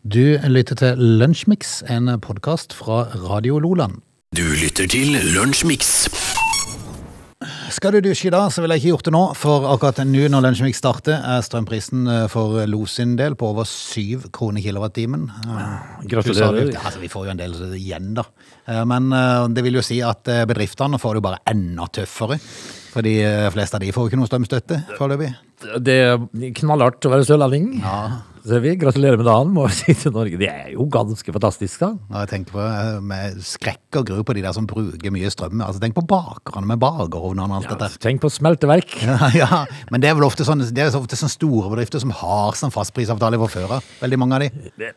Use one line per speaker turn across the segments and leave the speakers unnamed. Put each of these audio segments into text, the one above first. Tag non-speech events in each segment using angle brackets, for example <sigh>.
Du lytter til Lunsjmix, en podkast fra Radio Loland.
Du lytter til Lunsjmix.
Skal du dusje i dag, så ville jeg ikke gjort det nå, for akkurat nå når Lunsjmix starter, er strømprisen eh, for Lo sin del på over syv kroner kilowattimen. Eh, pluss
Gratulerer.
avgift. Altså, vi får jo en del igjen, da. Eh, Men eh, det vil jo si at eh, bedriftene får det jo bare enda tøffere. For de eh, fleste av de får jo ikke noe strømstøtte foreløpig.
Det er knallhardt å være sørlending. Så vi gratulerer med dagen, må vi si til Norge. Det er jo ganske fantastisk, da.
Når jeg tenker på eh, med skrekk og gru på de der som bruker mye strøm. Altså, tenk på bakerne med bakerovnene og alt dette.
Tenk på smelteverk.
<laughs> Ja, ja, men det er vel ofte sånne, det er ofte sånne store bedrifter som har sånn fastprisavtale fra før av. Veldig mange av de.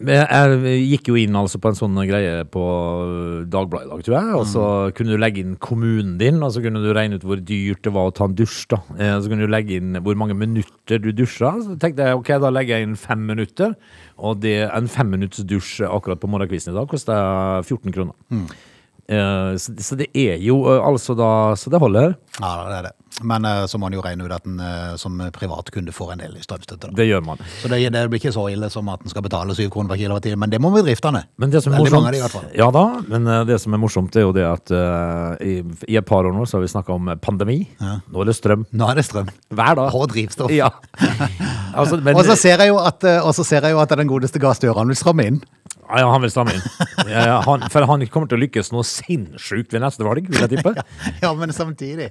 Jeg gikk jo inn altså på en sånn greie på øh, Dagbladet i dag, tror jeg. Og så kunne du legge inn kommunen din, og så kunne du regne ut hvor dyrt det var å ta en dusj. da. Eh, Så kunne du legge inn hvor mange minutter du dusja. Så tenkte jeg ok, da legger jeg inn fem minutter. Og det, en femminutts dusj akkurat på morgenkvisten i dag koster 14 kroner. Eh, Så, så det er jo eh, altså da Så det holder.
Ja, det er det. Men eh, så må en jo regne ut at en eh, som privatkunde får en del i strømstøtte. Da.
Det gjør man.
Så det, det blir ikke så ille som at en skal betale syv kroner per kilowattime, men det må bedriftene.
Men det som er
Veldig mange av
morsomt,
de i hvert fall.
ja da, men eh, det som er morsomt er jo det at eh, i, i et par år nå så har vi snakka om eh, pandemi. Nå er det strøm
Nå er det strøm.
hver dag.
Og drivstoff. <laughs>
Ja. Altså, men,
Og så ser jeg jo at, eh, og så ser jeg jo at den godeste Gahr Støre han vil stramme inn.
Ah, ja, han vil stramme inn. Ja, ja, han, for han kommer til å lykkes noe sinnssykt ved neste valg, vil jeg tippe.
<laughs> Ja, men samtidig,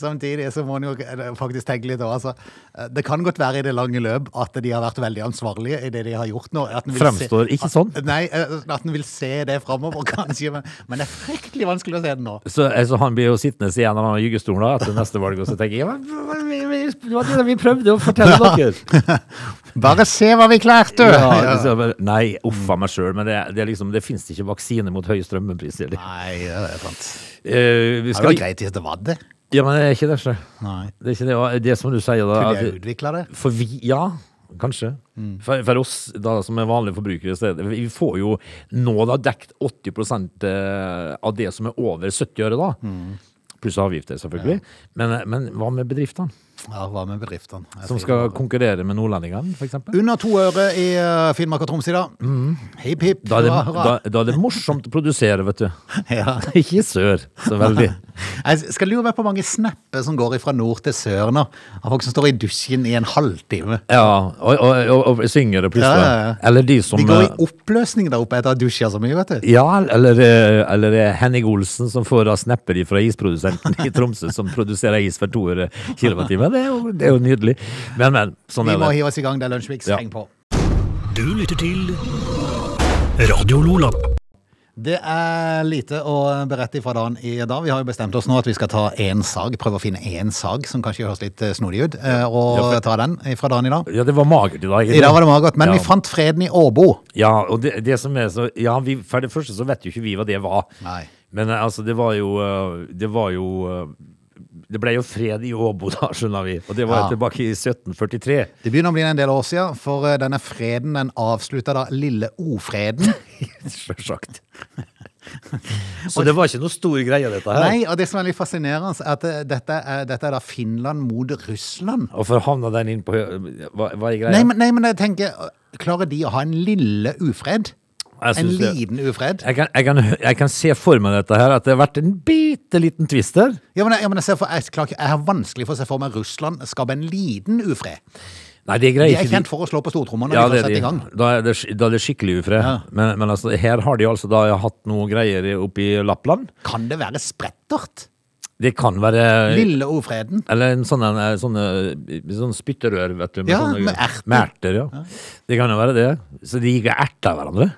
samtidig så må en jo eh, faktisk tenke litt over. Altså, eh, det kan godt være i det lange løp at de har vært veldig ansvarlige i det de har gjort nå. At en vil
Fremstår ikke
at-
sånn.
Nei, eh, at en vil se det framover, <laughs> kanskje. Men, men det er fryktelig vanskelig å se det nå.
Så altså, han blir jo sittende i en av gyggestolen da, etter neste valg, og så tenker jeg "Ja, men vi, vi, det var det vi prøvde å
<laughs>
fortelle dere.
Bare se hva vi klarte!
<laughs> Ja,
altså.
så jeg bare, nei, uff a meg sjøl, men det, det, er liksom, det fins ikke vaksine mot høye strømpriser. eller?
Nei, det er sant.
Eh, vi
Det
skal-
var greit hvis det var det.
Ja, men det er ikke det, så.
Nei.
Det er ikke det, og det som du sier da
Kunne
at,
jeg utvikla det? Mm.
For vi, ja, kanskje for, for oss da som er vanlige forbrukere i stedet Vi får jo nå da dekt 80% eh, av det som er over 70 øre da
Mm.
Pluss avgifter selvfølgelig men, eh, men hva med bedriftene?
Ja, hva med bedriftene? Jeg
Som
sier
skal
det.
konkurrere med nordlendingene for eksempel
Under to øre i eh, Finnmark og Troms i dag. Hipp, hipp,
Mm. da er,
hurra,
det, da,
hurra.
da er det morsomt å produsere, vet du
<laughs>
<laughs>
Ja.
Ikke i sør, så
<laughs>
veldig
Jeg skal lure meg på hvor mange snapper som går fra nord til sør nå. Av folk som står i dusjen i en halvtime.
Ja, og, og, og, og synger det plutselig
Ja, ja, ja.
Eller de som
De går i
eh,
oppløsning der oppe etter å ha dusja så mye, vet du.
Ja, eller, eh, eller eh, Henning Olsen som får da snapper fra isprodusenten i Tromsø, som produserer is for to øre kilowattimen. Det, er jo- det er jo nydelig. Men, men. Sånn
Vi
er
må
det.
hive oss i gang, det er Lunsjmix.
Ja.
Heng på.
Du lytter til Radio Lola.
Det er lite å berette fra dagen i dag. Vi har jo bestemt oss nå at vi skal ta én sag. Prøve å finne én sag som kanskje høres litt eh, snodig ut, eh, og
Ja, for-
ta den fra dagen i dag.
Ja, det var magert i dag.
I dag var det magert, men
ja.
vi fant freden i Åbo.
Ja, og det, det som er så Ja, vi, for det første så vet jo ikke vi hva det var.
Nei.
Men eh, altså, det var jo eh, Det var jo eh, Det ble jo fred i Åbo da, skjønner vi. Og det var
Ja.
tilbake i 1743.
Det begynner å bli en del år siden, for eh, denne freden den avslutta da Lille O-freden.
<laughs>
<laughs>
Sjølsagt. Så det var ikke noe stor greie, dette her.
Nei, og det som er litt fascinerende, er at eh, dette er, dette er da Finland mot Russland.
Hvorfor havna den inn på hø- Hva, hva er greia?
Nei, men, nei, men jeg tenker, eh, klarer de å ha en lille ufred?
Jeg
En
synes det-
liten ufred?
jeg, kan, jeg, kan, hø- jeg kan se for meg dette her, at det har vært en bitte liten twister.
Ja, men, jeg- ja, men jeg, ser for, jeg, klarer ikke, jeg har vanskelig for å se for meg Russland skape en liten ufred.
Nei, det
De
greier
er
ikke de.
kjent for å slå på stortrommene
Ja,
når de
det
først setter
er de.
i gang.
Da er det, sk- da er det skikkelig ufred. Men, men altså, her har de altså da hatt noe greier i- oppe i Lappland.
Kan det være sprettert?
Det kan være
Lille ufreden?
Eller en sånn, en, eh, sånne, eh, sånn spytterør, vet du.
Ja,
sånne,
med erter.
med erter, ja. Det kan jo være det. Så de gikk og erta hverandre.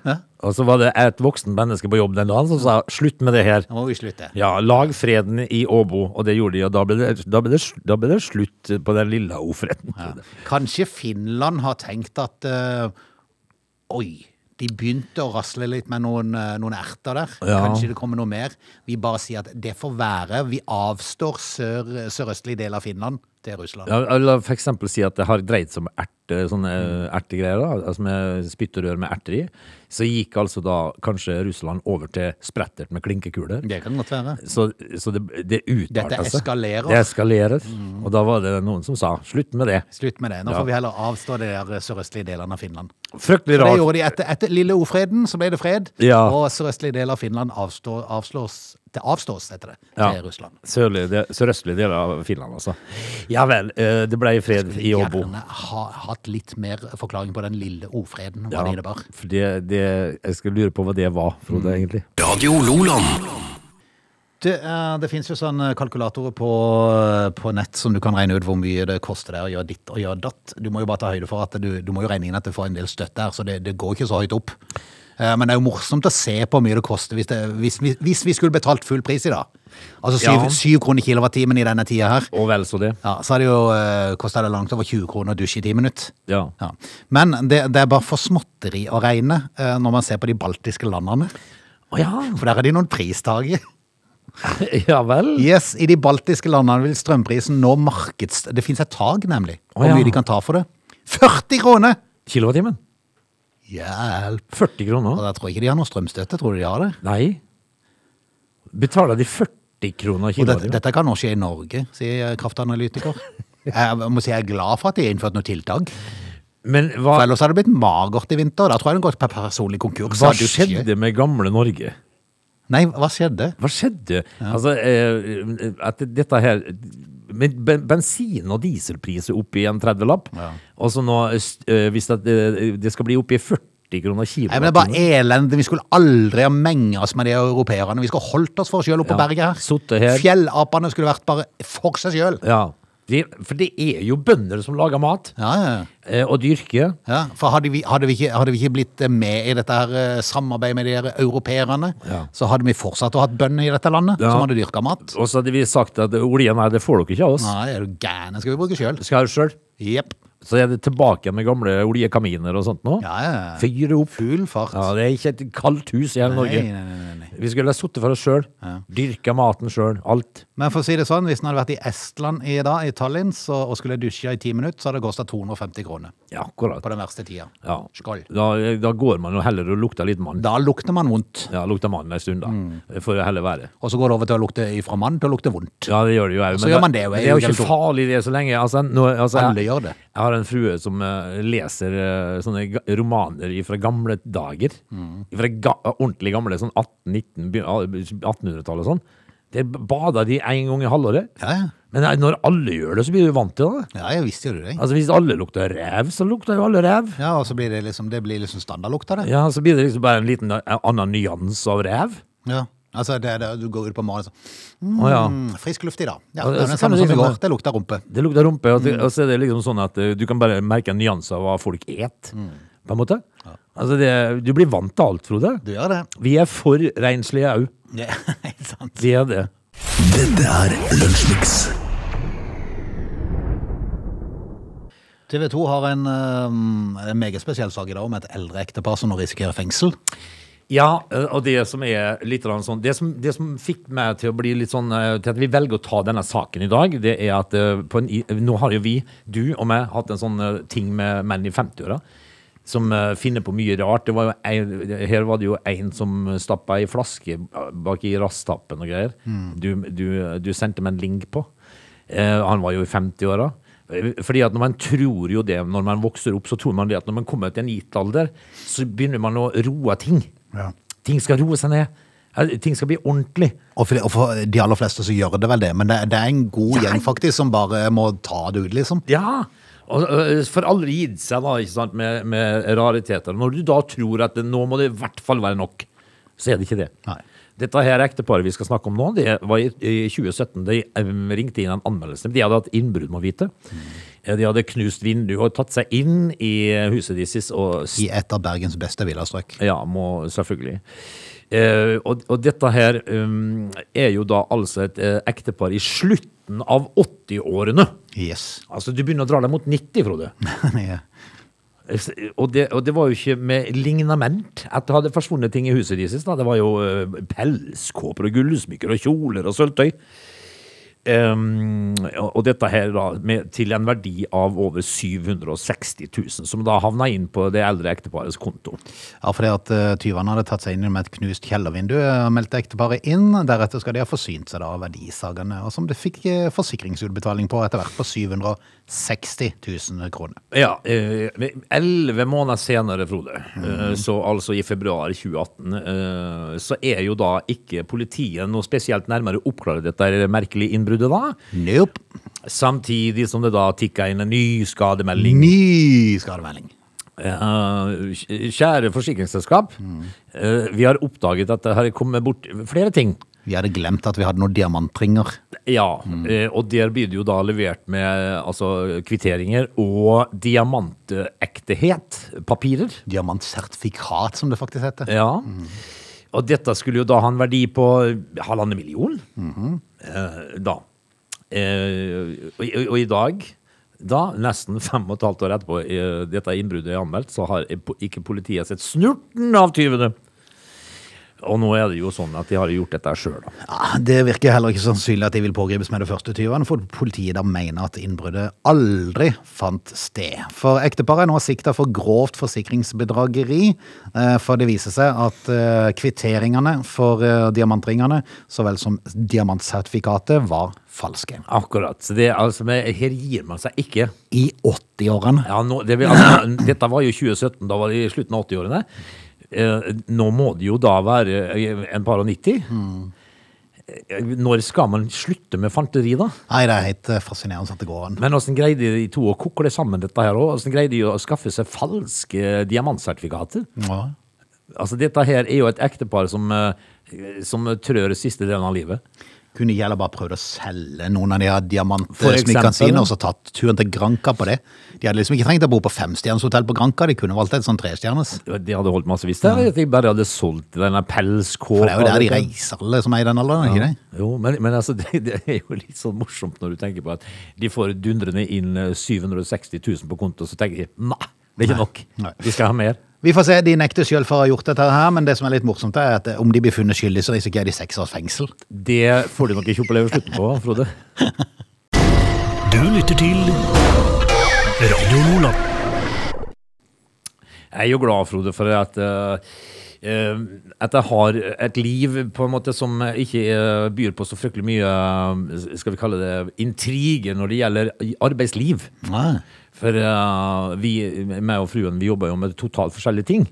Og så var det et voksen menneske på jobb den dagen som sa 'slutt med det her'.
Nå må vi slutte.
Ja, lag freden i Åbo, og det gjorde de, og da ble det, da ble det, da ble det slutt på den lilla ofreden.
Kanskje Finland har tenkt at eh, Oi, de begynte å rasle litt med noen, eh, noen erter der.
Ja.
Kanskje det kommer noe mer. Vi bare sier at det får være. Vi avstår sør, sørøstlig del av Finland. til Russland.
Ja, eller for eksempel si at det har dreid seg om erte, sånne eh, ertegreier, da, altså med spytterør med erter i, så gikk altså da kanskje Russland over til sprettert med klinkekuler.
Det kan godt være.
Så, så det, det utarta
Dette eskalerer. Mm.
Det eskalerer. Og da var det noen som sa slutt med det.
Slutt med det. Nå
Ja.
får vi heller avstå de der sørøstlige delene av Finland.
Fryktelig
Det
rart.
gjorde de etter, etter lille ordfreden, så ble det fred.
Ja.
Og sørøstlige deler av Finland avstå, avslås, det avstås etter det
Ja.
til Russland.
Sørlige del- Sørøstlige deler av Finland, altså. Ja vel. eh, Det ble fred i Åbo.
Gjerne ha, hatt litt mer forklaring på den lille ordfreden. Hva
Ja,
det Mm. innebar.
for det, det, jeg skal lure på hva det var, Frode, egentlig.
Radio Loland.
Det, eh, det finnes jo sånne kalkulatorer på, på nett som du kan regne ut hvor mye det koster deg å gjøre ditt og gjøre datt. Du må jo bare ta høyde for at du, du må jo regne inn at du får en del støtte her, så det, det går ikke så høyt opp. Eh, Men det er jo morsomt å se på hvor mye det koster hvis, det, hvis, vi- hvis vi skulle betalt full pris i dag. Altså syv,
Ja.
syv kroner kilowattimen i denne tida her.
Og vel så det.
Ja, så hadde det jo eh, kosta det langt over 20 kroner å dusje i ti minutter.
Ja.
Ja. Men det, det er bare for småtteri å regne eh, når man ser på de baltiske landene.
Å ja.
For der er de noen pristager.
<laughs> ja vel.
Yes, I de baltiske landene vil strømprisen nå markeds... Det fins et tak, nemlig. Hvor
Å, ja.
mye de kan ta for det. 40 kroner!
Kilowattimen?
Hjelp.
40
Og
kroner?
Jeg tror ikke de har noe strømstøtte. Tror du de har det?
Nei. Betaler de 40 kroner
Og dette,
kilowattimen?
dette kan nå skje i Norge, sier kraftanalytiker. Jeg må si jeg er glad for at de har innført noe tiltak.
Men
For
hva,
Ellers hadde det blitt magert i vinter. Da tror jeg det hadde gått per personlig konkurs.
hva
Hadde du ikke-
skjedde med gamle Norge?
Nei, hva skjedde?
Hva skjedde? Altså, eh, at dette her men ben- bensin- og dieselpris er oppe i en 30-lapp.
Ja.
Og så nå, eh, hvis det, eh, det skal bli oppe i 40 kroner
Nei, men det er bare
kilowattimen
elendig. Vi skulle aldri ha menga oss med de europeerne. Vi skulle ha holdt oss for oss sjøl oppe på
Ja,
berget her.
sittet her.
Fjellapene skulle vært bare for seg sjøl.
Ja. Det, for det er jo bønder som lager mat,
Ja, ja.
eh, og dyrker.
ja, for hadde vi, hadde, vi ikke, hadde vi ikke blitt med i dette her eh, samarbeidet med de her europeerne,
Ja.
så hadde vi fortsatt å hatt bønder i dette landet
Ja.
som hadde dyrka mat.
Og så hadde vi sagt at oljen her, det får dere ikke av oss.
Nei, er du gæren? Det Skal vi bruke sjøl?
Det skal ha det sjøl.
Jepp.
Så er det tilbake med gamle oljekaminer og sånt nå.
Ja, ja.
Fyre opp.
Full fart.
Ja, det er ikke et kaldt hus i hele
Nei,
Norge.
nei, nei, nei.
Vi skulle ha sittet for oss sjøl. Dyrka maten sjøl. Alt.
Men for å si det sånn, hvis den hadde vært i Estland i dag, i Tallinn, så, og skulle dusje i ti minutter, så hadde det kosta 250 kroner
Ja, akkurat.
på den verste tida.
Ja.
Skål.
Da, da går man jo heller og lukter litt mann.
Da Mm. lukter man vondt.
Ja, lukter mann en stund, da. Det får det heller være.
Og så går det over til å lukte fra mann til å lukte vondt.
Ja, det gjør det jo jeg.
Så gjør man det jo,
men det er jo
jeg er jo
ikke farlig det så lenge. Altså, nå, altså,
Alle
jeg,
gjør det.
jeg har en frue som eh, leser eh, sånne ga- romaner fra gamle dager.
Mm.
Fra ga ordentlig gamle, sånn 1819 be- 1800-tallet og sånn. Der bader de en gang i halvåret.
Ja, ja.
Men nei, når alle gjør det, så blir du vant til det.
Ja, jeg visste jo det. jeg.
Altså Hvis alle lukter rev, så lukter jo alle rev.
Ja, og så blir det liksom, det blir liksom standardlukt av det.
Ja, Så blir det liksom bare en liten eh, annen nyans av rev.
Ja. Altså, det, det, du går ut på morgenen og
Å ja.
sånn Frisk luft i dag. Ja,
Og
det er det
så kan
samme
du
som i
liksom
går.
bare-
Det lukter rumpe.
Det lukter rumpe, og, det, og så er det liksom sånn at eh, du kan bare merke en nyanse av hva folk et, på en måte. Altså, det, du blir vant til alt, Frode.
Du gjør det.
Vi er for renslige au.
Ja, <laughs> ikke sant.
Vi er det.
Dette er Lunsjmix.
TV 2 har en, eh, en meget spesiell sak i dag om et eldre ektepar som nå risikerer fengsel.
Ja, eh, og det som er litt grann sånn det som, det som fikk meg til å bli litt sånn eh, Til at vi velger å ta denne saken i dag, det er at eh, på en, i- Nå har jo vi, du og meg, hatt en sånn eh, ting med menn i 50-åra. Som eh, finner på mye rart. Det var jo en, her var det jo en som stappa ei flaske bak i rasstappen og greier. Du, du, du sendte meg en link på. Eh, han var jo i 50-åra. Fordi at når man tror jo det når man vokser opp, så tror man det at når man kommer til en gitt alder, så begynner man å roe ting.
Ja.
Ting skal roe seg ned. Eh, Ting skal bli ordentlig.
Og for, og for de aller fleste så gjør det vel det, men det, det er en god gjeng faktisk som bare må ta det ut, liksom.
Ja! Og, eh, for aldri gitt seg da, ikke sant, med, med rariteter. Når du da tror at det- nå må det i hvert fall være nok, så er det ikke det.
Nei.
Dette her ekteparet vi skal snakke om nå, det var i, i 2017. De eh, ringte inn en anmeldelse. De hadde hatt innbrudd, må vite.
Mm.
Eh, De hadde knust vinduet og tatt seg inn i øh, huset deres og
I et av Bergens beste villastrøk.
Ja, må, selvfølgelig. Eh, og, og dette her um, er jo da altså et eh, ektepar i slutten av 80-årene.
Yes.
Altså, du begynner å dra deg mot 90, Frode.
<laughs> ja.
Og det, og det var jo ikke med lignament at det hadde forsvunnet ting i huset deres. da. Det var jo eh, pelskåper og gullsmykker og kjoler og sølvtøy. Ehm, og dette her da, med, til en verdi av over 760 000, som da havna inn på det eldre ekteparets konto.
Ja, fordi at eh, tyvene hadde tatt seg inn med et knust kjellervindu, eh, meldte ekteparet inn. Deretter skal de ha forsynt seg da av verdisagene, og som de fikk eh, forsikringsutbetaling på etter hvert på 760 000 kroner.
Ja, eh, Elleve måneder senere, Frode, eh, så altså i februar 2018, eh, så er jo da ikke politiet noe spesielt nærmere oppklarer dette her merkelige innbruddet, da.
Nope.
Samtidig som det da tikka inn en ny skademelding.
Ny skademelding.
Eh, kjære forsikringsselskap, eh, vi har oppdaget at det har kommet bort flere ting.
Vi hadde glemt at vi hadde noen diamantringer.
Ja, eh, og der blir det jo da levert med eh, altså, kvitteringer og diamantektehet, papirer.
Diamantsertifikat, som det faktisk heter.
Ja. Og dette skulle jo da ha en verdi på halvannen million. eh, da. Eh, og, i- og i dag, da, nesten fem og et halvt år etterpå eh, dette innbruddet er anmeldt, så har eh, po- ikke politiet sett snurten av tyvene. Og nå er det jo sånn at de har gjort dette sjøl, da.
Ja, det virker heller ikke sannsynlig at de vil pågripes med det første tyvene, for politiet da mener at innbruddet aldri fant sted. For ekteparet er nå sikta for grovt forsikringsbedrageri, eh, for det viser seg at eh, kvitteringene for eh, diamantringene, så vel som diamantsertifikatet, var falske.
Akkurat. Så det, altså, men her gir man seg ikke.
I 80-årene.
Ja, nå, det, vil- altså, dette var jo 2017, da var det i slutten av 80-årene. Eh, nå må det jo da være eh, en par og 90.
Mm.
Eh, Når skal man slutte med fanteri, da?
Nei, det er helt eh, fascinerende at det går an.
Men åssen greide de to å kokle sammen dette her òg? Åssen greide de å skaffe seg falske diamantsertifikater?
Ja.
Altså, dette her er jo et ektepar som, eh, som trør siste delen av livet.
Kunne ikke heller bare prøvd å selge noen av de her
For eksempel.
diamantsmykkene sine og så tatt turen til Granca på det. De hadde liksom ikke trengt å bo på femstjerners hotell på Granca, de kunne valgt et sånn trestjerners.
De hadde holdt massevis der. At de bare hadde solgt denne pelskåpa.
For det er jo der de reiser, alle som er i den alderen, ikke det?
Jo, men, men altså, <laughs> det, det er jo litt sånn morsomt når du tenker på at de får dundrende inn eh, 760 000 på konto, så tenker de nei, det er ikke nok.
Nei.
Vi skal ha mer.
Vi får se, de nekter selv for å ha gjort dette her, men det som er litt morsomt er at eh, om de blir funnet skyldig, så risikerer de seks års fengsel.
Det får du nok ikke oppleve slutten på, Frode.
Du lytter til Radio Lola.
<laughs> Jeg er jo glad, Frode, for at eh, eh, at jeg har et liv på en måte som ikke eh, byr på så fryktelig mye eh, skal vi kalle det, intriger når det gjelder arbeidsliv.
Nei.
For eh, vi, meg og fruen, vi jobber jo med totalt forskjellige ting.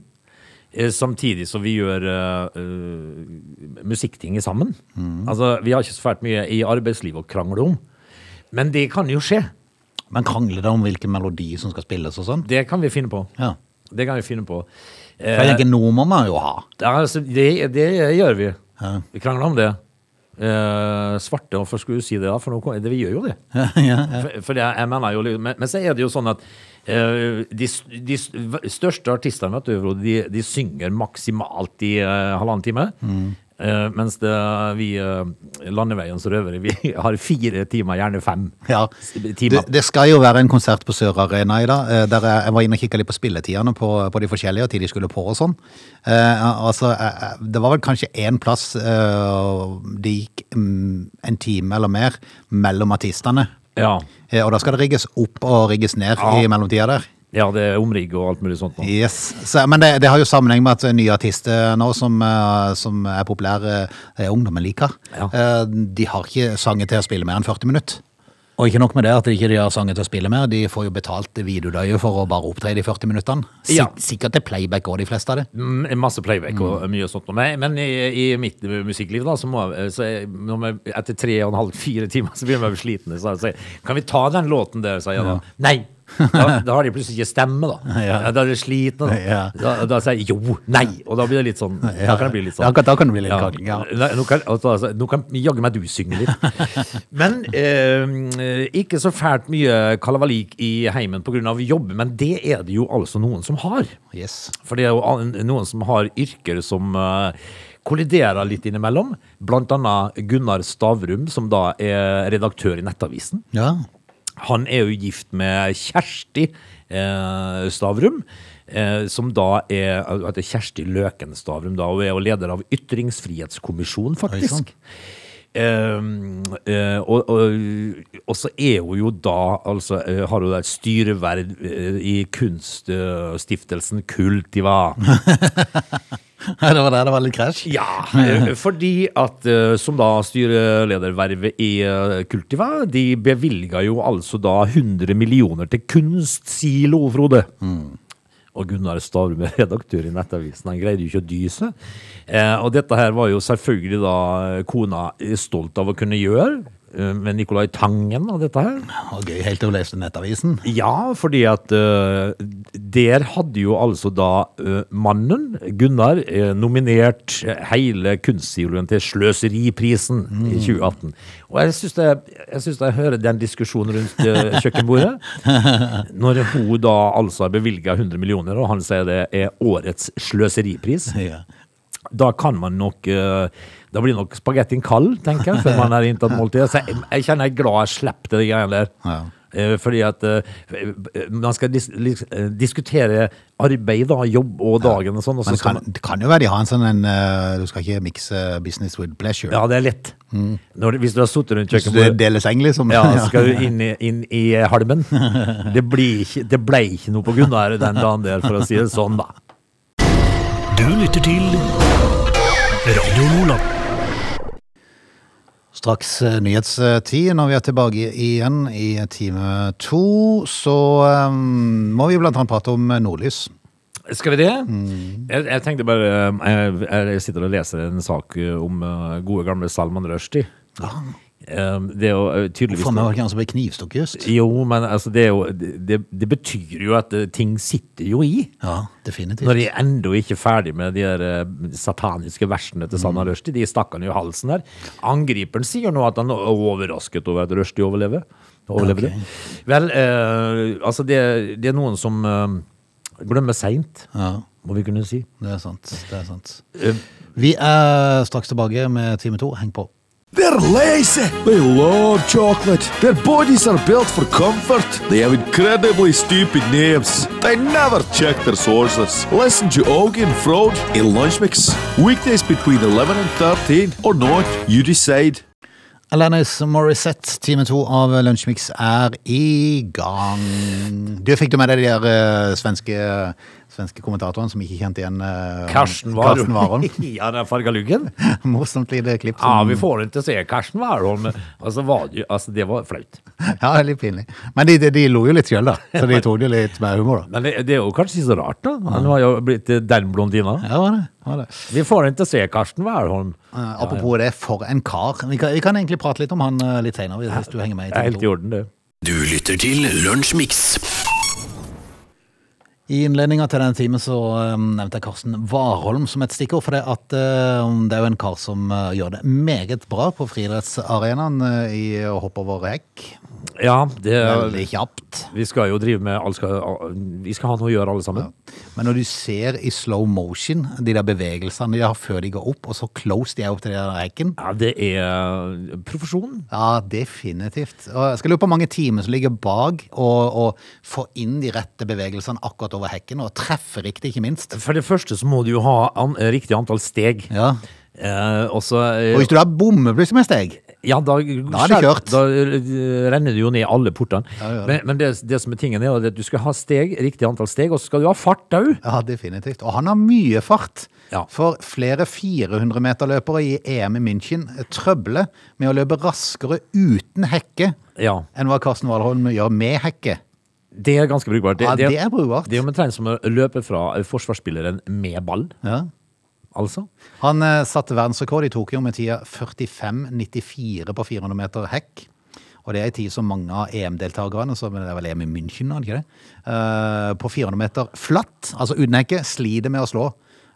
Eh, Samtidig som vi gjør eh, eh, musikkting sammen.
Mm.
Altså, vi har ikke så fælt mye i arbeidslivet å krangle om. Men det kan jo skje.
Men krangler det om hvilken melodi som skal spilles og sånn?
Det kan vi finne på.
Ja.
Det kan vi finne på. Eh,
For jeg tenker, noe må man jo ha.
ja, altså, det, det gjør vi.
Ja.
Vi krangler om det. Eh, svarte, hvorfor skulle du si det, da? For nå, kom- det, vi gjør jo det.
ja,
For, for jeg, jeg mener jo, litt- men, men så er det jo sånn at eh, de, s- de s- v- største artistene, vet du, Frode, de, de synger maksimalt i eh, halvannen time.
Mm.
Eh, mens det, vi eh, landeveiens røvere, vi <laughs> har fire timer, gjerne fem
Ja,
s-
det,
timer.
det skal jo være en konsert på Sør Arena i dag, eh, der jeg jeg var inne og kikket litt på spilletiderne på, på de forskjellige, og tid de skulle på og sånn. Eh, altså, eh, det var vel kanskje en plass eh, det gikk mm, en time eller mer mellom artistene,
ja.
eh, og da skal det rigges opp og rigges ned
Ja.
i mellomtida der.
ja, det er omrigg og alt mulig sånt. nå.
Yes. Så, men det, det har jo sammenheng med at nye artister nå som, eh, som er populære, eh, ungdommen liker,
Ja.
eh, de har ikke sanger til å spille mer enn 40 minutter. Og ikke nok med det at de ikke har sanger til å spille mer, de får jo betalt videodøye for å bare opptre i de 40 minuttene.
Ja.
Sikkert til playback òg, de fleste av det.
Mm, Masse playback og
Mm.
mye sånt. nå. Men, men i, i mitt musikkliv, da, så må jeg, så jeg, når jeg etter tre og en halv, fire timer, så begynner jeg å bli sliten. Så jeg sier, kan vi ta den låten der, sier jeg da. Nei!
<laughs>
Da, da har de plutselig ikke stemme, da.
Ja.
Da er de slitne. Da.
Ja.
Da, da sier jeg jo, nei! Og da blir det litt sånn. Da kan det bli litt sånn.
Ja, akkurat da kan det bli litt
Ja.
krangling, ja.
Nei, Nå kan, altså, altså, nå kan jaggu meg du synge litt.
<laughs>
Men eh, ikke så fælt mye kalavalik i heimen pga. jobb, men det er det jo altså noen som har.
Yes.
For det er jo an- noen som har yrker som eh, kolliderer litt innimellom. Blant annet Gunnar Stavrum, som da er redaktør i Nettavisen.
Ja. <laughs>
Han er jo gift med Kjersti eh, Stavrum, eh, som da er hun heter Kjersti Løken Stavrum, da, og er jo leder av Ytringsfrihetskommisjonen,
Oi, sant.
faktisk. Ehm, eh, og, og, og så er hun jo da altså, eh, Har hun da et styreverv eh, i kunststiftelsen Kultiva.
det var der det var litt krasj.
Ja, eh, fordi at eh, som da styreledervervet i eh, Kultiva, de bevilga jo altså da 100 millioner til kunstsilo, Frode. Og Gunnar Stavrum er <laughs> redaktør i Nettavisen, han greide jo ikke å dy seg. Eh, og dette her var jo selvfølgelig da eh, kona eh, stolt av å kunne gjøre, eh, med Nicolai Tangen og dette her.
Og gøy helt til hun leste Nettavisen.
Ja, fordi at eh, der hadde jo altså da eh, mannen, Gunnar, eh, nominert hele kunstsiloen til Sløseriprisen i 2018. Og jeg syns jeg, jeg, synes jeg hører den diskusjonen rundt eh, kjøkkenbordet. Når hun da altså har bevilga 100 millioner, og han sier det er årets sløseripris,
Ja.
da kan man nok eh, Da blir nok spagettien kald, tenker jeg, før man har inntatt måltidet. Så jeg, jeg kjenner jeg er glad jeg slapp det greiene der.
Ja.
Eh, Fordi at eh, man skal dis lis- eh, diskutere arbeid, da, jobb og dagen og sånn. Og så
Men
skal
kan,
man,
det kan jo være de har en sånn en eh, Du skal ikke mikse business with pleasure.
ja, det er lett. Når, du- hvis du har sittet rundt
Så det
kjøkkenbordet
deles eng, liksom. <laughs>
ja, så skal du inn i, inn i eh, halmen. Det, blir ikke, det ble ikke noe på Gunnar den dagen der, for å si det sånn, da.
Du lytter til Radio Nordland.
Straks eh, nyhetstid. Når vi er tilbake igjen i time to, så eh, må vi blant annet prate om eh, nordlys.
Skal vi det?
Mm.
Jeg, jeg tenkte bare eh, jeg, jeg sitter og leser en sak eh, om eh, gode gamle Salman Rushdie. Eh, Det er jo eh, tydeligvis
For meg var Ah. det ikke han som ble knivstukket just.
Jo, men altså, det, er jo, det, det betyr jo at eh, ting sitter jo i.
Ja, definitivt.
Når de ennå ikke er ferdig med de der eh, sataniske versene til Salman
Mm.
Rushdie, de stakk han jo i halsen der. Angriperen sier nå at han er overrasket over at Rushdie overlever. overlevde. Vel, eh, altså, det, det er noen som eh, glemmer seint,
Ja,
må vi kunne si.
det er sant. Det er sant.
Eh,
Vi er straks tilbake med time to. Heng på.
They're lazy. They love chocolate. Their bodies are built for comfort. They have incredibly stupid names. They never check their sources. Listen to Augie and Frode in Lunch Mix. Weekdays between 11 and 13 or not, you decide.
Alanis Morissette, time to av Lunsjmix er i gang. Du fikk du med deg de der eh, svenske, svenske kommentatorene som ikke kjente igjen eh,
Karsten
Karsten
Warholm.
Warholm? <laughs>
<laughs> ja, den fargaluggen.
Morsomt lite klipp.
Ja,
Som,
vi får den til å se Karsten Warholm. Altså, var det, jo- altså, det var flaut.
<laughs> ja, litt pinlig. Men de, de, de lo jo litt sjøl, da. Så de tok det jo litt med humor, da.
Men det, det er jo kanskje ikke så rart, da. Han har jo blitt eh, den blondina.
Ja, var det. Var det.
Vi får den til å se Karsten Warholm.
Eh, apropos det, for en kar. Vi kan, vi kan egentlig prate litt om han eh, litt seinere, hvis du henger med. i
Det er
time
helt
to.
i orden, det.
Du lytter til Lunsjmix.
I innledninga til denne timen så eh, nevnte jeg Karsten Warholm som et stikkord. For det, at, eh, det er jo en kar som eh, gjør det meget bra på friidrettsarenaen eh, i å hoppe over hekk.
Ja, det
Veldig kjapt.
Vi skal jo drive med alt skal, al- Vi skal ha noe å gjøre, alle sammen.
Men når du ser i slow motion de der bevegelsene de har før de går opp, og så close de er opp til den der hekken
Ja, det er eh, profesjon.
Ja, definitivt. Og jeg skal lure på hvor mange timer som ligger bak å å få inn de rette bevegelsene akkurat over hekken, og treffe riktig, ikke minst.
For det første så må du jo ha an, riktig antall steg.
Ja.
Eh, og så eh,
Og hvis du da bommer plutselig med steg
Ja, da,
Da er det kjørt.
Da eh, renner det jo ned alle portene.
Ja, ja.
Men, men det, det som er tingen, er jo at du skal ha steg, riktig antall steg, og så skal du ha fart òg.
Ja, definitivt. Og han har mye fart.
Ja.
For flere 400-meterløpere i EM i München trøbler med å løpe raskere uten hekke
Ja.
enn hva Karsten Warholm gjør med hekke.
Det er ganske brukbart.
Ja, det er brukbart.
Det er jo omtrent som å løpe fra eh, forsvarsspilleren med ball,
Ja.
altså.
Han eh, satte verdensrekord i Tokyo med tida 45,94 på 400 meter hekk. Og det er en tid som mange av EM-deltakerne, som det er vel EM i München, er det ikke det? Eh, på 400 meter flatt, altså uten hekke, sliter med å slå.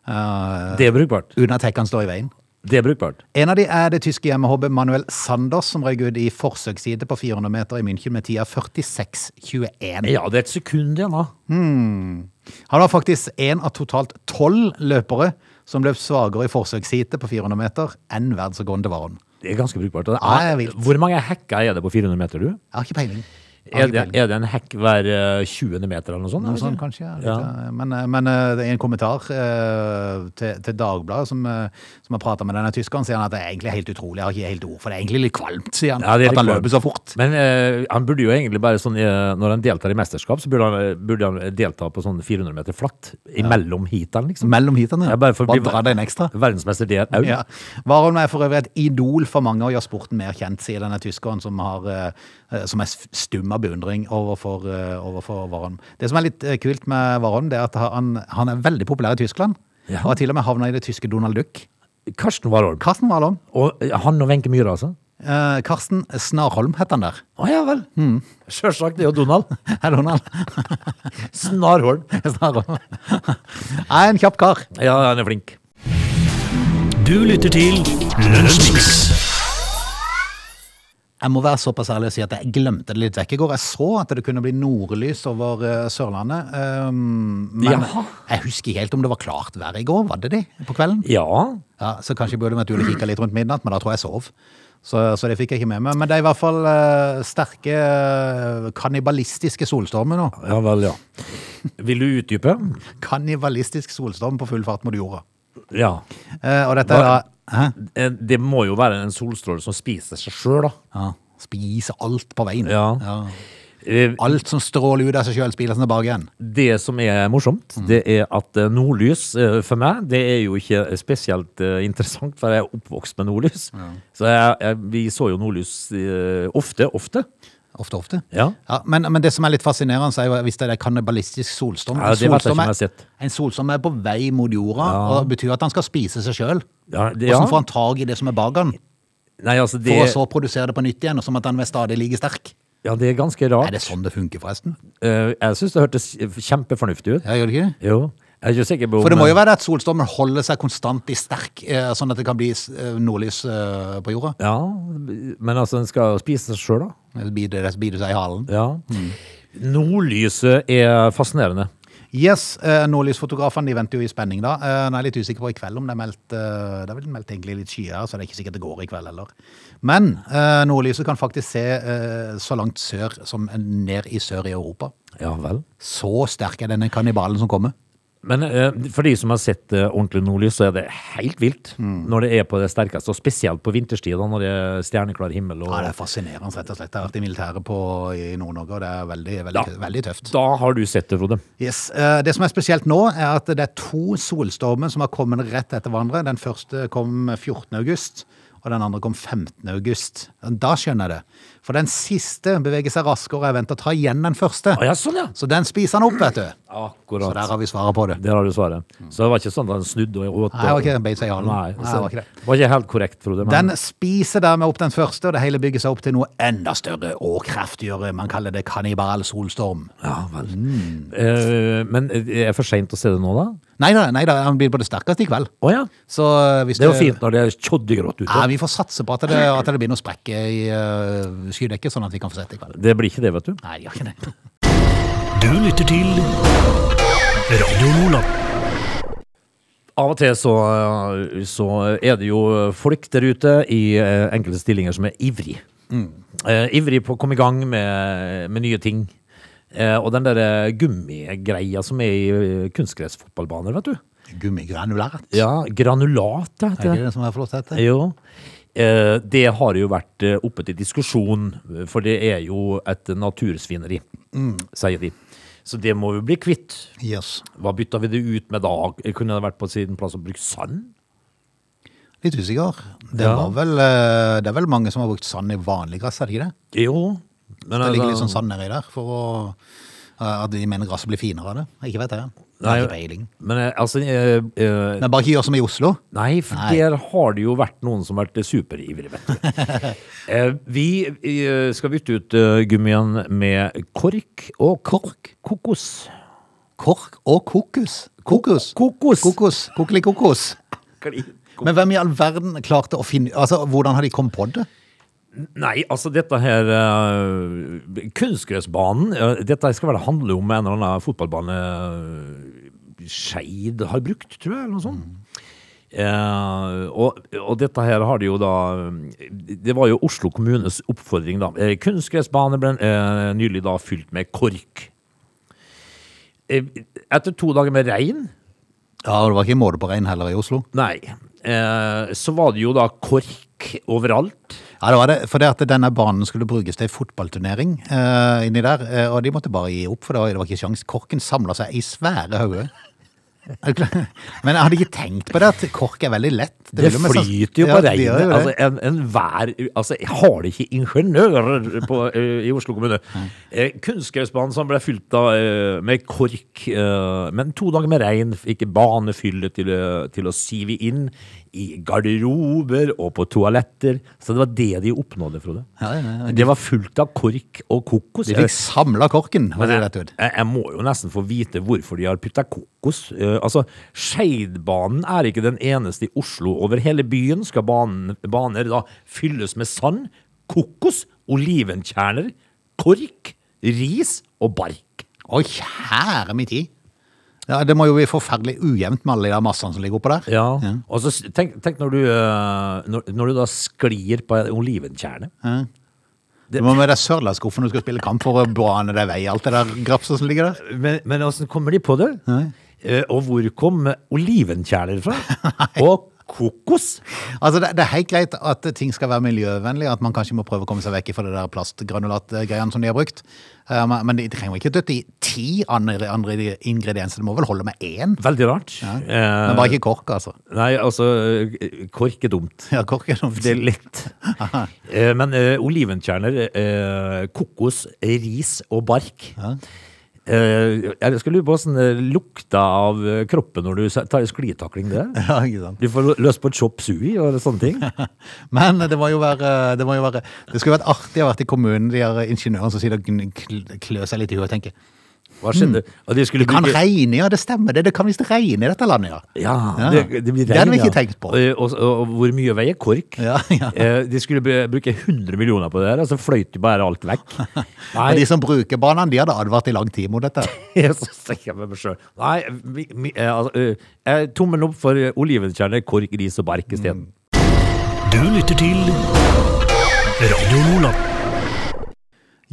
eh,
Det er brukbart.
uten at hekken står i veien.
Det er brukbart.
En av de er det tyske hjemmehobbet Manuel Sanders, som røyk ut i forsøksside på 400 meter i München med tida 46,21.
Ja, det er et sekund igjen, da.
Han var faktisk en av totalt tolv løpere som løp svakere i forsøksside på 400 meter enn verdensrekorden til Warholm.
Det er ganske brukbart.
Ja, det er vilt.
Hvor mange hekker er det på 400 meter, du?
Jeg har ikke peiling.
Er det, er det en hekk hver eh, 20. meter eller noe sånt?
Noe
eller?
sånt, kanskje. Ja. Litt,
Ja.
eh, Men, eh, men eh, det er en kommentar eh, til, til Dagbladet, som, eh, som har prata med denne tyskeren, sier han at det er egentlig helt utrolig. Jeg har ikke helt ord for det. Det er egentlig litt kvalmt, sier han.
Ja, det er litt
at han
kvalmt.
løper så fort.
Men eh, han burde jo egentlig bare sånn eh, Når han deltar i mesterskap, så burde han, eh, burde han delta på sånn 400 meter flatt. Imellom heatene, liksom.
Mellom heatene.
Ja, bare for å bli-
dra det en ekstra.
Verdensmester der òg.
Ja. Warholm er for øvrig et idol for mange og gjør sporten mer kjent, sier denne tyskeren som, har, eh, som er s- stum av beundring overfor, eh, overfor Warholm. Det som er litt eh, kult med Warholm, det er at han, han er veldig populær i Tyskland.
Ja.
Og har til og med havna i det tyske Donald Duck.
Karsten Warholm.
Karsten Warholm.
Og eh, han og Wenche Myhre, altså?
Eh, Karsten Snarholm het han der. <laughs>
Å ja vel. Hmm. Sjølsagt. Det er jo Donald.
Er det Donald?
Snarholm.
Snarholm. <laughs> Nei, en kjapp kar.
Ja, han er flink.
Du lytter til Lunsjmix.
Jeg må være såpass ærlig og si at jeg glemte det litt vekk i går. Jeg så at det kunne bli nordlys over eh, Sørlandet. ehm, men
Jaha.
jeg husker ikke helt om det var klart vær i går. Var det det på kvelden?
Ja.
Ja, Så kanskje jeg burde vært ute og kikka litt rundt midnatt, men da tror jeg jeg sov. Så, så det fikk jeg ikke med meg. Men det er i hvert fall eh, sterke eh, kannibalistiske solstormer nå.
Ja vel, ja. Vil du utdype?
Kannibalistisk solstorm på full fart mot jorda.
Ja.
Eh, og dette er da
Hva- Eh, Det må jo være en solstråle som spiser seg sjøl, da.
ja, Spise alt på veien.
Ja. Eh,
Alt som stråler ut av seg sjøl, spiler seg tilbake igjen.
Det som er morsomt,
Mm.
det er at eh, nordlys eh, for meg, det er jo ikke spesielt eh, interessant, for jeg er oppvokst med nordlys. Så jeg, jeg, vi så jo nordlys eh, ofte, ofte.
Ofte, ofte.
Ja.
men, men det som er litt fascinerende, er jo hvis det er kannibalistisk solstorm.
Ja,
En
det vet
solstorm
jeg ikke om jeg
er-
har sett.
En solstorm er på vei mot jorda, og det betyr at han skal spise seg sjøl.
Ja, det- ja.
Hvordan får han tak i det som er bak han,
Nei, altså det,
for å så produsere det på nytt igjen, og som at han vil stadig ligge sterk?
ja, det er ganske
Er
rart.
det sånn det funker, forresten?
Eh, Jeg syns det hørtes kjempefornuftig ut.
Ja, gjør det ikke det?
Jo. Jeg er ikke sikker på om
For det må jo være det at solstormen holder seg konstant i sterk, eh, sånn at det kan bli eh, nordlys eh, på jorda.
Ja, men altså, den skal spise seg sjøl, da.
Ellers biter det- biter det seg i halen.
Ja.
Mm.
Nordlyset er fascinerende.
Yes, eh, Nordlysfotografene de venter jo i spenning, da. Eh, nå er jeg litt usikker på i kveld om det er meldt eh, Det er vel meldt egentlig litt skyer, så det er ikke sikkert det går i kveld heller. Men eh, nordlyset kan faktisk se eh, så langt sør som ned i sør i Europa.
Ja vel.
Så sterk er denne kannibalen som kommer.
Men eh, for de som har sett eh, ordentlig nordlys, så er det helt vilt
Mm.
når det er på det sterkeste. Og spesielt på vinterstid, da, når det er stjerneklar himmel. Og,
Ja, Det er fascinerende, rett og slett. Jeg har vært i militæret på, i Nord-Norge, og det er veldig, veldig,
Ja.
veldig tøft.
da har du sett det, Frode.
Yes. eh, Det som er spesielt nå, er at det er to solstormer som har kommet rett etter hverandre. Den første kom 14. august, og den andre kom 15. august. Da skjønner jeg det. For den siste beveger seg raskere og er ventet å ta igjen den første.
Å ja, sånn ja!
Så den spiser han opp, vet du. Så
Akkurat.
der har vi svaret på det. Mm.
Der har du svaret. Så det var ikke sånn at den snudde og åt.
Nei, det var ikke
og-
den beit seg i halen.
Nei,
Nei, det
så, det,
var
var
ikke det.
ikke helt korrekt, Frode. Men,
Den spiser dermed opp den første, og det hele bygger seg opp til noe enda større og kraftigere. Man kaller det kannibal solstorm.
ja, vel. Eh, men er det for seint å se det nå, da?
Neida, neida, han blir på det sterkeste i kveld.
Å ja.
Så eh, hvis
Det er jo
du-
fint når det er tjoddegrått ute.
Ja, vi får satse på at det, at det begynner å sprekke i eh, skydekket, sånn at vi kan få sett det i kveld.
Det blir ikke det, vet du.
Nei, det gjør ikke det.
Du lytter til Radio Nordland.
Av og til så, så er det jo folk der ute i eh, enkelte stillinger som er ivrig.
Mm.
Eh, ivrig på å komme i gang med, med nye ting. Eh, og den der eh, gummigreia som er i eh, kunstgressfotballbaner, vet du.
<laughs> Gummigranulat.
Ja, granulat
Er
det
det
heter
ikke
det.
det som er flott hette?
Jo. Eh, det har jo vært eh, oppe til diskusjon, for det er jo et natursvineri,
Mm.
sier de. Så det må vi bli kvitt.
Yes.
Hva bytta vi det ut med da? Kunne det vært på sin plass å bruke sand?
Litt usikker. Det,
Ja.
var vel, eh, det er vel mange som har brukt sand i vanlig gress, er det ikke det?
Jo. Men
Det
altså-
ligger litt sånn sand nedi der, for å, eh, at de mener gresset blir finere av det. Ikke vet jeg. Det
Nei,
er ikke peiling.
Men eh, altså eh, eh,
Men bare ikke gjør som i Oslo.
Nei, for
Nei.
der har det jo vært noen som har vært superivrige, vet
<laughs>
du. eh, vi eh, skal bytte ut eh, gummien med kork og kork. kokos.
Kork og kokos. Kokos.
Kokos.
Kokos. Kokelikokos. Men hvem i all verden klarte å finne Altså, hvordan har de kommet på det?
Nei, altså dette her eh, Kunstgressbanen eh, Dette skal vel handle om en eller annen fotballbane eh, Skeid har brukt, tror jeg, eller noe sånt. Eh, og, og dette her har de jo da Det var jo Oslo kommunes oppfordring, da. Eh, kunstgressbane ble eh, nylig da fylt med kork. Eh, etter to dager med regn
Ja, og det var ikke måte på regn heller i Oslo.
Nei. Eh, så var det jo da kork overalt.
Ja, det var det, for det at denne banen skulle brukes til en fotballturnering eh, inni der, eh, og de måtte bare gi opp, for det var, det var ikke sjans. Korken samla seg i svære hauger. Er du klar? Men jeg hadde ikke tenkt på det, at kork er veldig lett.
Det
vil jo mest sanns-
flyter jo
Ja,
på
det gjør jo
regnet.
det.
Altså, en, en vær, altså, jeg har det ikke ingeniører på, eh, i Oslo kommune. Eh, Kunstgressbanen som ble fylt av, eh, med kork, eh, men to dager med regn fikk banefyllet til, eh, til å sive inn i garderober og på toaletter. Så det var det de oppnådde, Frode.
Ja, ja, ja.
Det var fullt av kork og kokos. Eh,
de fikk samla korken, var det
Men
det
jeg,
det het.
jeg, jeg må jo nesten få vite hvorfor de har putta kokos. Eh, altså, Skeidbanen er ikke den eneste i Oslo. Over hele byen skal banen, baner da fylles med sand, kokos, olivenkjerner, kork, ris og bark.
Å, kjære min tid! Ja, det må jo bli forferdelig ujevnt med alle de der massene som ligger oppå der.
Ja. Og så s- tenk, tenk når, du, eh, når, når du da sklir på en olivenkjerne.
Du må med deg sørlandsskuffen når du skal spille kamp for å bane deg vei i alt det der grapset som ligger der.
Men, men åssen kommer de på det? Eh, og hvor kom olivenkjerner
<laughs>
fra? og kokos?
Altså, det, det er helt greit at ting skal være miljøvennlig, at man kanskje må prøve å komme seg vekk fra det der plastgranulatgreiene som de har brukt. Eh, men- Men de trenger jo ikke døtte i ti andre, andre ingredienser. Det må vel holde med én?
Veldig rart. Eh,
Men bare ikke kork, altså.
Nei, altså, eh, kork er dumt.
Ja, kork er noe
Det er
<laughs>
litt. Eh, Men eh, olivenkjerner, eh, kokos, ris og bark. Eh, Jeg skulle lure på hvordan det lukta av eh, kroppen når du sa- tar en sklitakling der.
<laughs> Ja, ikke sant.
Du får løs på chop sui og sånne ting.
Men det må jo være Det, må jo være, det skulle vært artig å ha vært i kommunen, de her ingeniørene som sitter og gn- kl- klør seg litt i huet og tenker
Hva skjedde? Og de skulle
Det Mm. kan
bygge-
regne, ja, det stemmer det. Det kan visst regne i dette landet, ja.
Ja,
Ja.
det, det blir
Det hadde vi
regn,
ikke
ja.
tenkt på.
Og, og, og hvor mye veier kork?
Ja, ja.
Eh, De skulle be- bruke 100 millioner på det her, og så fløyt de bare alt vekk.
<laughs> Og de som bruker banene, de hadde advart i lang tid mot dette.
<laughs> Jeg så tenker jeg med meg selv. Nei, vi, vi, eh, altså, eh, eh, tommelen opp for eh, olivenkjerner, kork, ris og bark
Mm.
isteden.
Du lytter til Radio Nordland.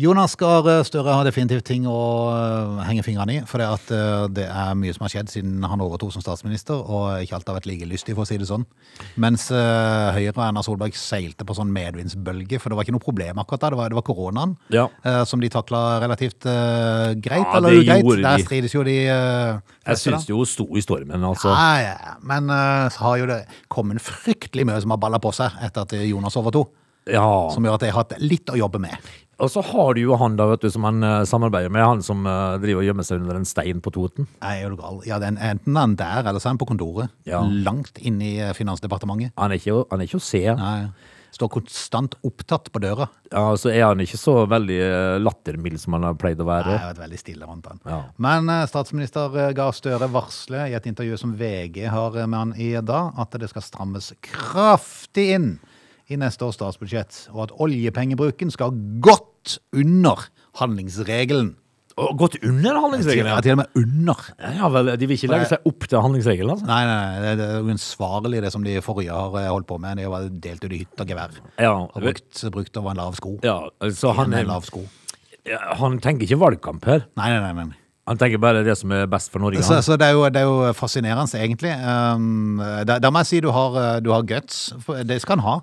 Jonas Gahr Støre har definitivt ting å øh, henge fingrene i. For det, at, øh, det er mye som har skjedd siden han overtok som statsminister, og ikke alt har vært like lystig, for å si det sånn. Mens øh, Høyre og Erna Solberg seilte på sånn medvindsbølge, for det var ikke noe problem akkurat da. Det var, det var koronaen
Ja.
øh, som de takla relativt øh, greit.
Ja,
eller
det
ugreit.
gjorde de.
Der strides jo de øh,
Jeg
fleste, da.
syns det jo sto i stormen, altså.
Ja, ja. Men øh, så har jo det kommet fryktelig mye som har balla på seg etter at Jonas overtok.
Ja.
Som gjør at jeg har hatt litt å jobbe med.
Og så har du jo han da, vet du, som han eh, samarbeider med, han som eh, driver og gjemmer seg under en stein på Toten.
Nei, er du gal? Ja, den, enten er han der, eller så er han på kontoret.
Ja.
Langt inn i eh, Finansdepartementet.
Han er ikke, å- han er ikke å se. Ja,
Nei, står konstant opptatt på døra.
så altså, er han ikke så veldig eh, lattermild som han har pleid å
Nei,
være.
jeg har vært veldig stille rundt han.
Ja.
Men eh, statsminister eh, Gahr Støre varsler i et intervju som VG har eh, med han i dag, at det skal strammes kraftig inn i neste års statsbudsjett, og at oljepengebruken skal godt under handlingsregelen.
Og gått under
Til,
handlingsregelen,
ja,
ja.
til og med under.
Ja vel, de vil ikke legge seg opp til handlingsregelen, altså.
Nei, nei, nei, det- det er uansvarlig det som de forrige har eh, holdt på med. De har bare delt ut i hytt og gevær.
Ja,
Har brukt, brukt over en lav sko.
ja, så han,
En
er-
lav sko.
ja, han tenker ikke valgkamp her.
Nei, nei, nei. nei.
Han tenker bare det som er best for Norge.
Så,
han.
så det, er jo, det er jo fascinerende, egentlig. Um, da, da må jeg si du har, eh, du har guts. For Det skal han ha.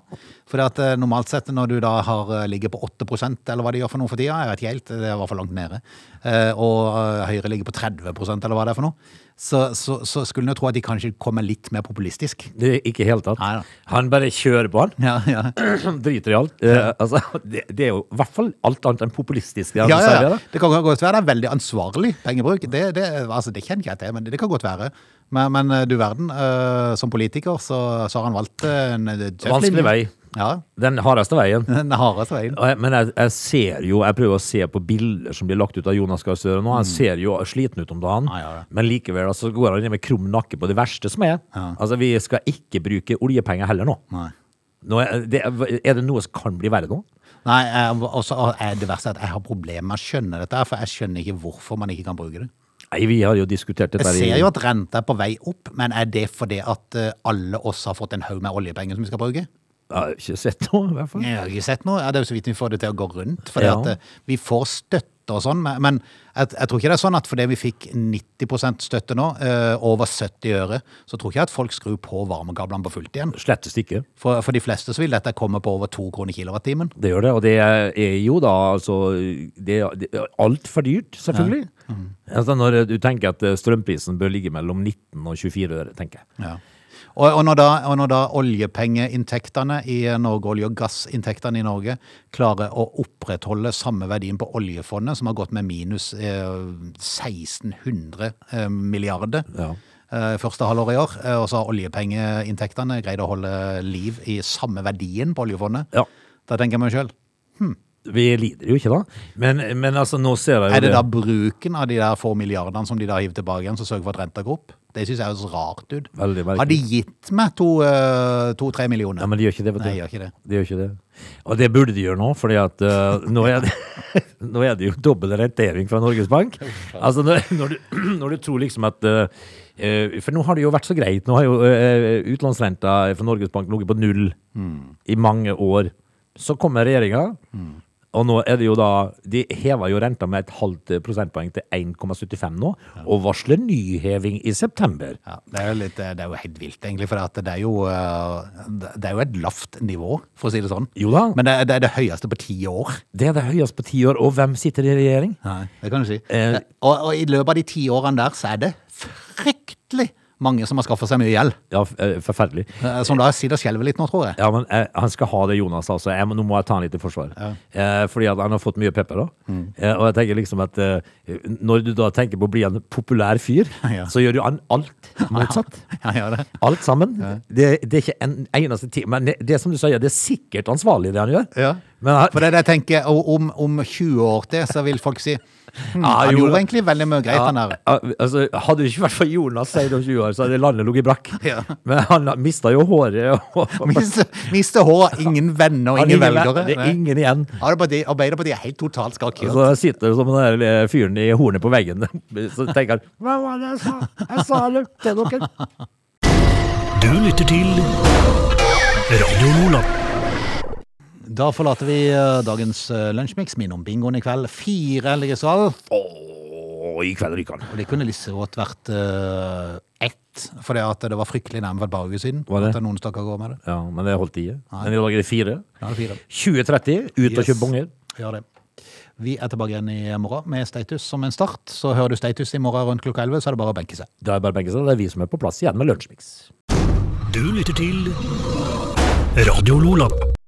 For at eh, normalt sett når du da har, eh, ligger på 8 eller hva de gjør for noe for tida, jeg vet ikke helt, det er i hvert fall langt nede, eh, og eh, Høyre ligger på 30 eller hva det er for noe, så, så, så skulle en jo tro at de kanskje kommer litt mer populistisk. <laughs>
Det er ikke i hele tatt.
Nei da.
Han bare kjører på han. <clears throat>
Ja, ja.
Driter i alt. Eh, altså, det, det er jo i hvert fall alt annet enn populistisk. Det, han
Ja, ja,
sier,
ja.
da.
Det kan godt være det er veldig ansvarlig pengebruk. Det, det, altså, det kjenner ikke jeg til, men det kan godt være. Men, men eh, du verden, eh, som politiker så, så har han valgt eh, en eh, tøff
Vanskelig
linje.
vei.
Ja, <laughs>
Den hardeste veien.
den hardeste veien.
Og jeg- Men jeg, jeg ser jo Jeg prøver å se på bilder som blir lagt ut av Jonas Gahr Støre nå. Han ser jo sliten ut om dagen,
Mm. Ja, ja, ja.
men likevel altså, går han ned med krum nakke på det verste som er. Altså, vi skal ikke bruke oljepenger heller nå.
Nei.
nå er, det, er det noe som kan bli verre nå?
Nei, jeg- og så er det verste at jeg har problemer med å skjønne dette, her, for jeg skjønner ikke hvorfor man ikke kan bruke det.
Nei, vi har jo diskutert dette
Jeg
her i-
ser jo at renta er på vei opp, men er det fordi at eh, alle oss har fått en haug med oljepenger som vi skal bruke?
Jeg har ikke sett noe, i hvert fall.
Jeg har ikke sett noe. Ja, det er jo så vidt vi får det til å gå rundt. For
Mm. Ja.
at eh, vi får støtte og sånn, men- men jeg, jeg tror ikke det er sånn at fordi vi fikk 90 støtte nå, eh, over 70 øre, så tror ikke jeg at folk skrur på varmekablene på fullt igjen.
Slettes ikke.
For, for de fleste så vil dette komme på over to kroner kilowattimen.
Det gjør det, og det er jo da altså Det er det er altfor dyrt, selvfølgelig.
Mm.
Altså, når du tenker at eh, strømprisen bør ligge mellom 19 og 24 øre, tenker jeg.
Ja. Og, og, når da, og når da oljepengeinntektene i eh, Norge, olje- og gassinntektene i Norge, klarer å opprettholde samme verdien på oljefondet, som har gått med minus eh, 1600 eh, milliarder
Ja.
eh, første halvår i år, eh, og så har oljepengeinntektene greid å holde liv i samme verdien på oljefondet,
Ja.
da tenker jeg meg sjøl.
Vi lider jo ikke, da. Men, men altså, nå ser jeg jo
Er det da bruken av de der få milliardene som de da hiver tilbake igjen, som sørger for at renta går opp? Det syns jeg høres rart ut.
Veldig merkelig.
Har de gitt meg to-tre millioner?
Ja, men de gjør ikke det, vet du.
Nei, de gjør ikke det.
De gjør ikke det. Og det burde de gjøre nå, fordi at eh, nå, er det, <laughs> nå er det jo dobbel rentering fra Norges Bank. Altså, når, <clears throat> når, du, når du tror liksom at eh, eh, For nå har det jo vært så greit. Nå har jo eh, utlånsrenta fra Norges Bank ligget på null
Mm.
i mange år. Så kommer regjeringa, og nå er det jo da De hever jo renta med et halvt eh, prosentpoeng til 1,75 nå, og varsler nyheving i september.
Ja, det er jo, litt, eh, det er jo helt vilt, egentlig. For at det, er jo, eh, det er jo et lavt nivå, for å si det sånn.
Jo da.
Men det er, det er det høyeste på ti år.
Det er det høyeste på ti år, og hvem sitter i regjering?
Det kan du si.
Eh,
og, og i løpet av de ti årene der, så er det fryktelig mange som har skaffet seg mye gjeld.
Ja, f- eh, forferdelig.
eh, Som da sitter og skjelver litt nå, tror jeg.
Ja, men eh, han skal ha det, Jonas. altså. Jeg må, nå må jeg ta han litt i forsvar. Eh, fordi at han har fått mye pepper. da.
Mm.
Eh, og jeg tenker liksom at eh, Når du da tenker på å bli en populær fyr,
<laughs> Ja.
så gjør jo han alt
<laughs>
motsatt.
Ja, gjør det.
Alt sammen. Det, det er ikke en eneste ting. Men det, det som du sier, det er sikkert ansvarlig, det han gjør.
Ja.
Men han,
For det er det jeg tenker, og om, om 20 år til, så vil folk si hm,
Ja,
Han
jo
gjorde
da.
egentlig veldig mye greit, han der.
Ja, altså, hadde det ikke vært for Jonas sier det om 20 år, så hadde landet ligget brakk.
Ja.
Men han mista jo håret. Og,
Miste, miste hår, ingen venner og
Han
ingen Altså,
ingen-
velgere.
Det er
Nei.
ingen igjen.
Arbeiderpartiet Arbeiderpartiet er helt totalt skakk. i
Og Så sitter det som den der eh, fyren i hornet på veggen. <laughs> Så tenker han Hva var det jeg sa? Jeg sa det til dere.
Du lytter til Radio Nordland.
Da forlater vi eh, dagens eh, lunsjmix. Minn om bingoen i kveld. Fire Elgesal.
Åh, i kveld ryker han.
Og det kunne lisse godt vært eh, ett, for det, at det var fryktelig nærme for et par uker siden.
Var det?
At noen stakkar går med det.
Ja, men det holdt i. Men i dag er det fire.
Da er det fire.
2030, ut og
Yes.
kjøpe bonger.
Gjør det. Vi er tilbake igjen i morgen med Status som en start. Så hører du Status i morgen rundt klokka 11, så er det bare å benke seg.
Da er det bare begge seg. Det er vi som er på plass igjen med Lunsjmix.
Du lytter til Radio Nordland.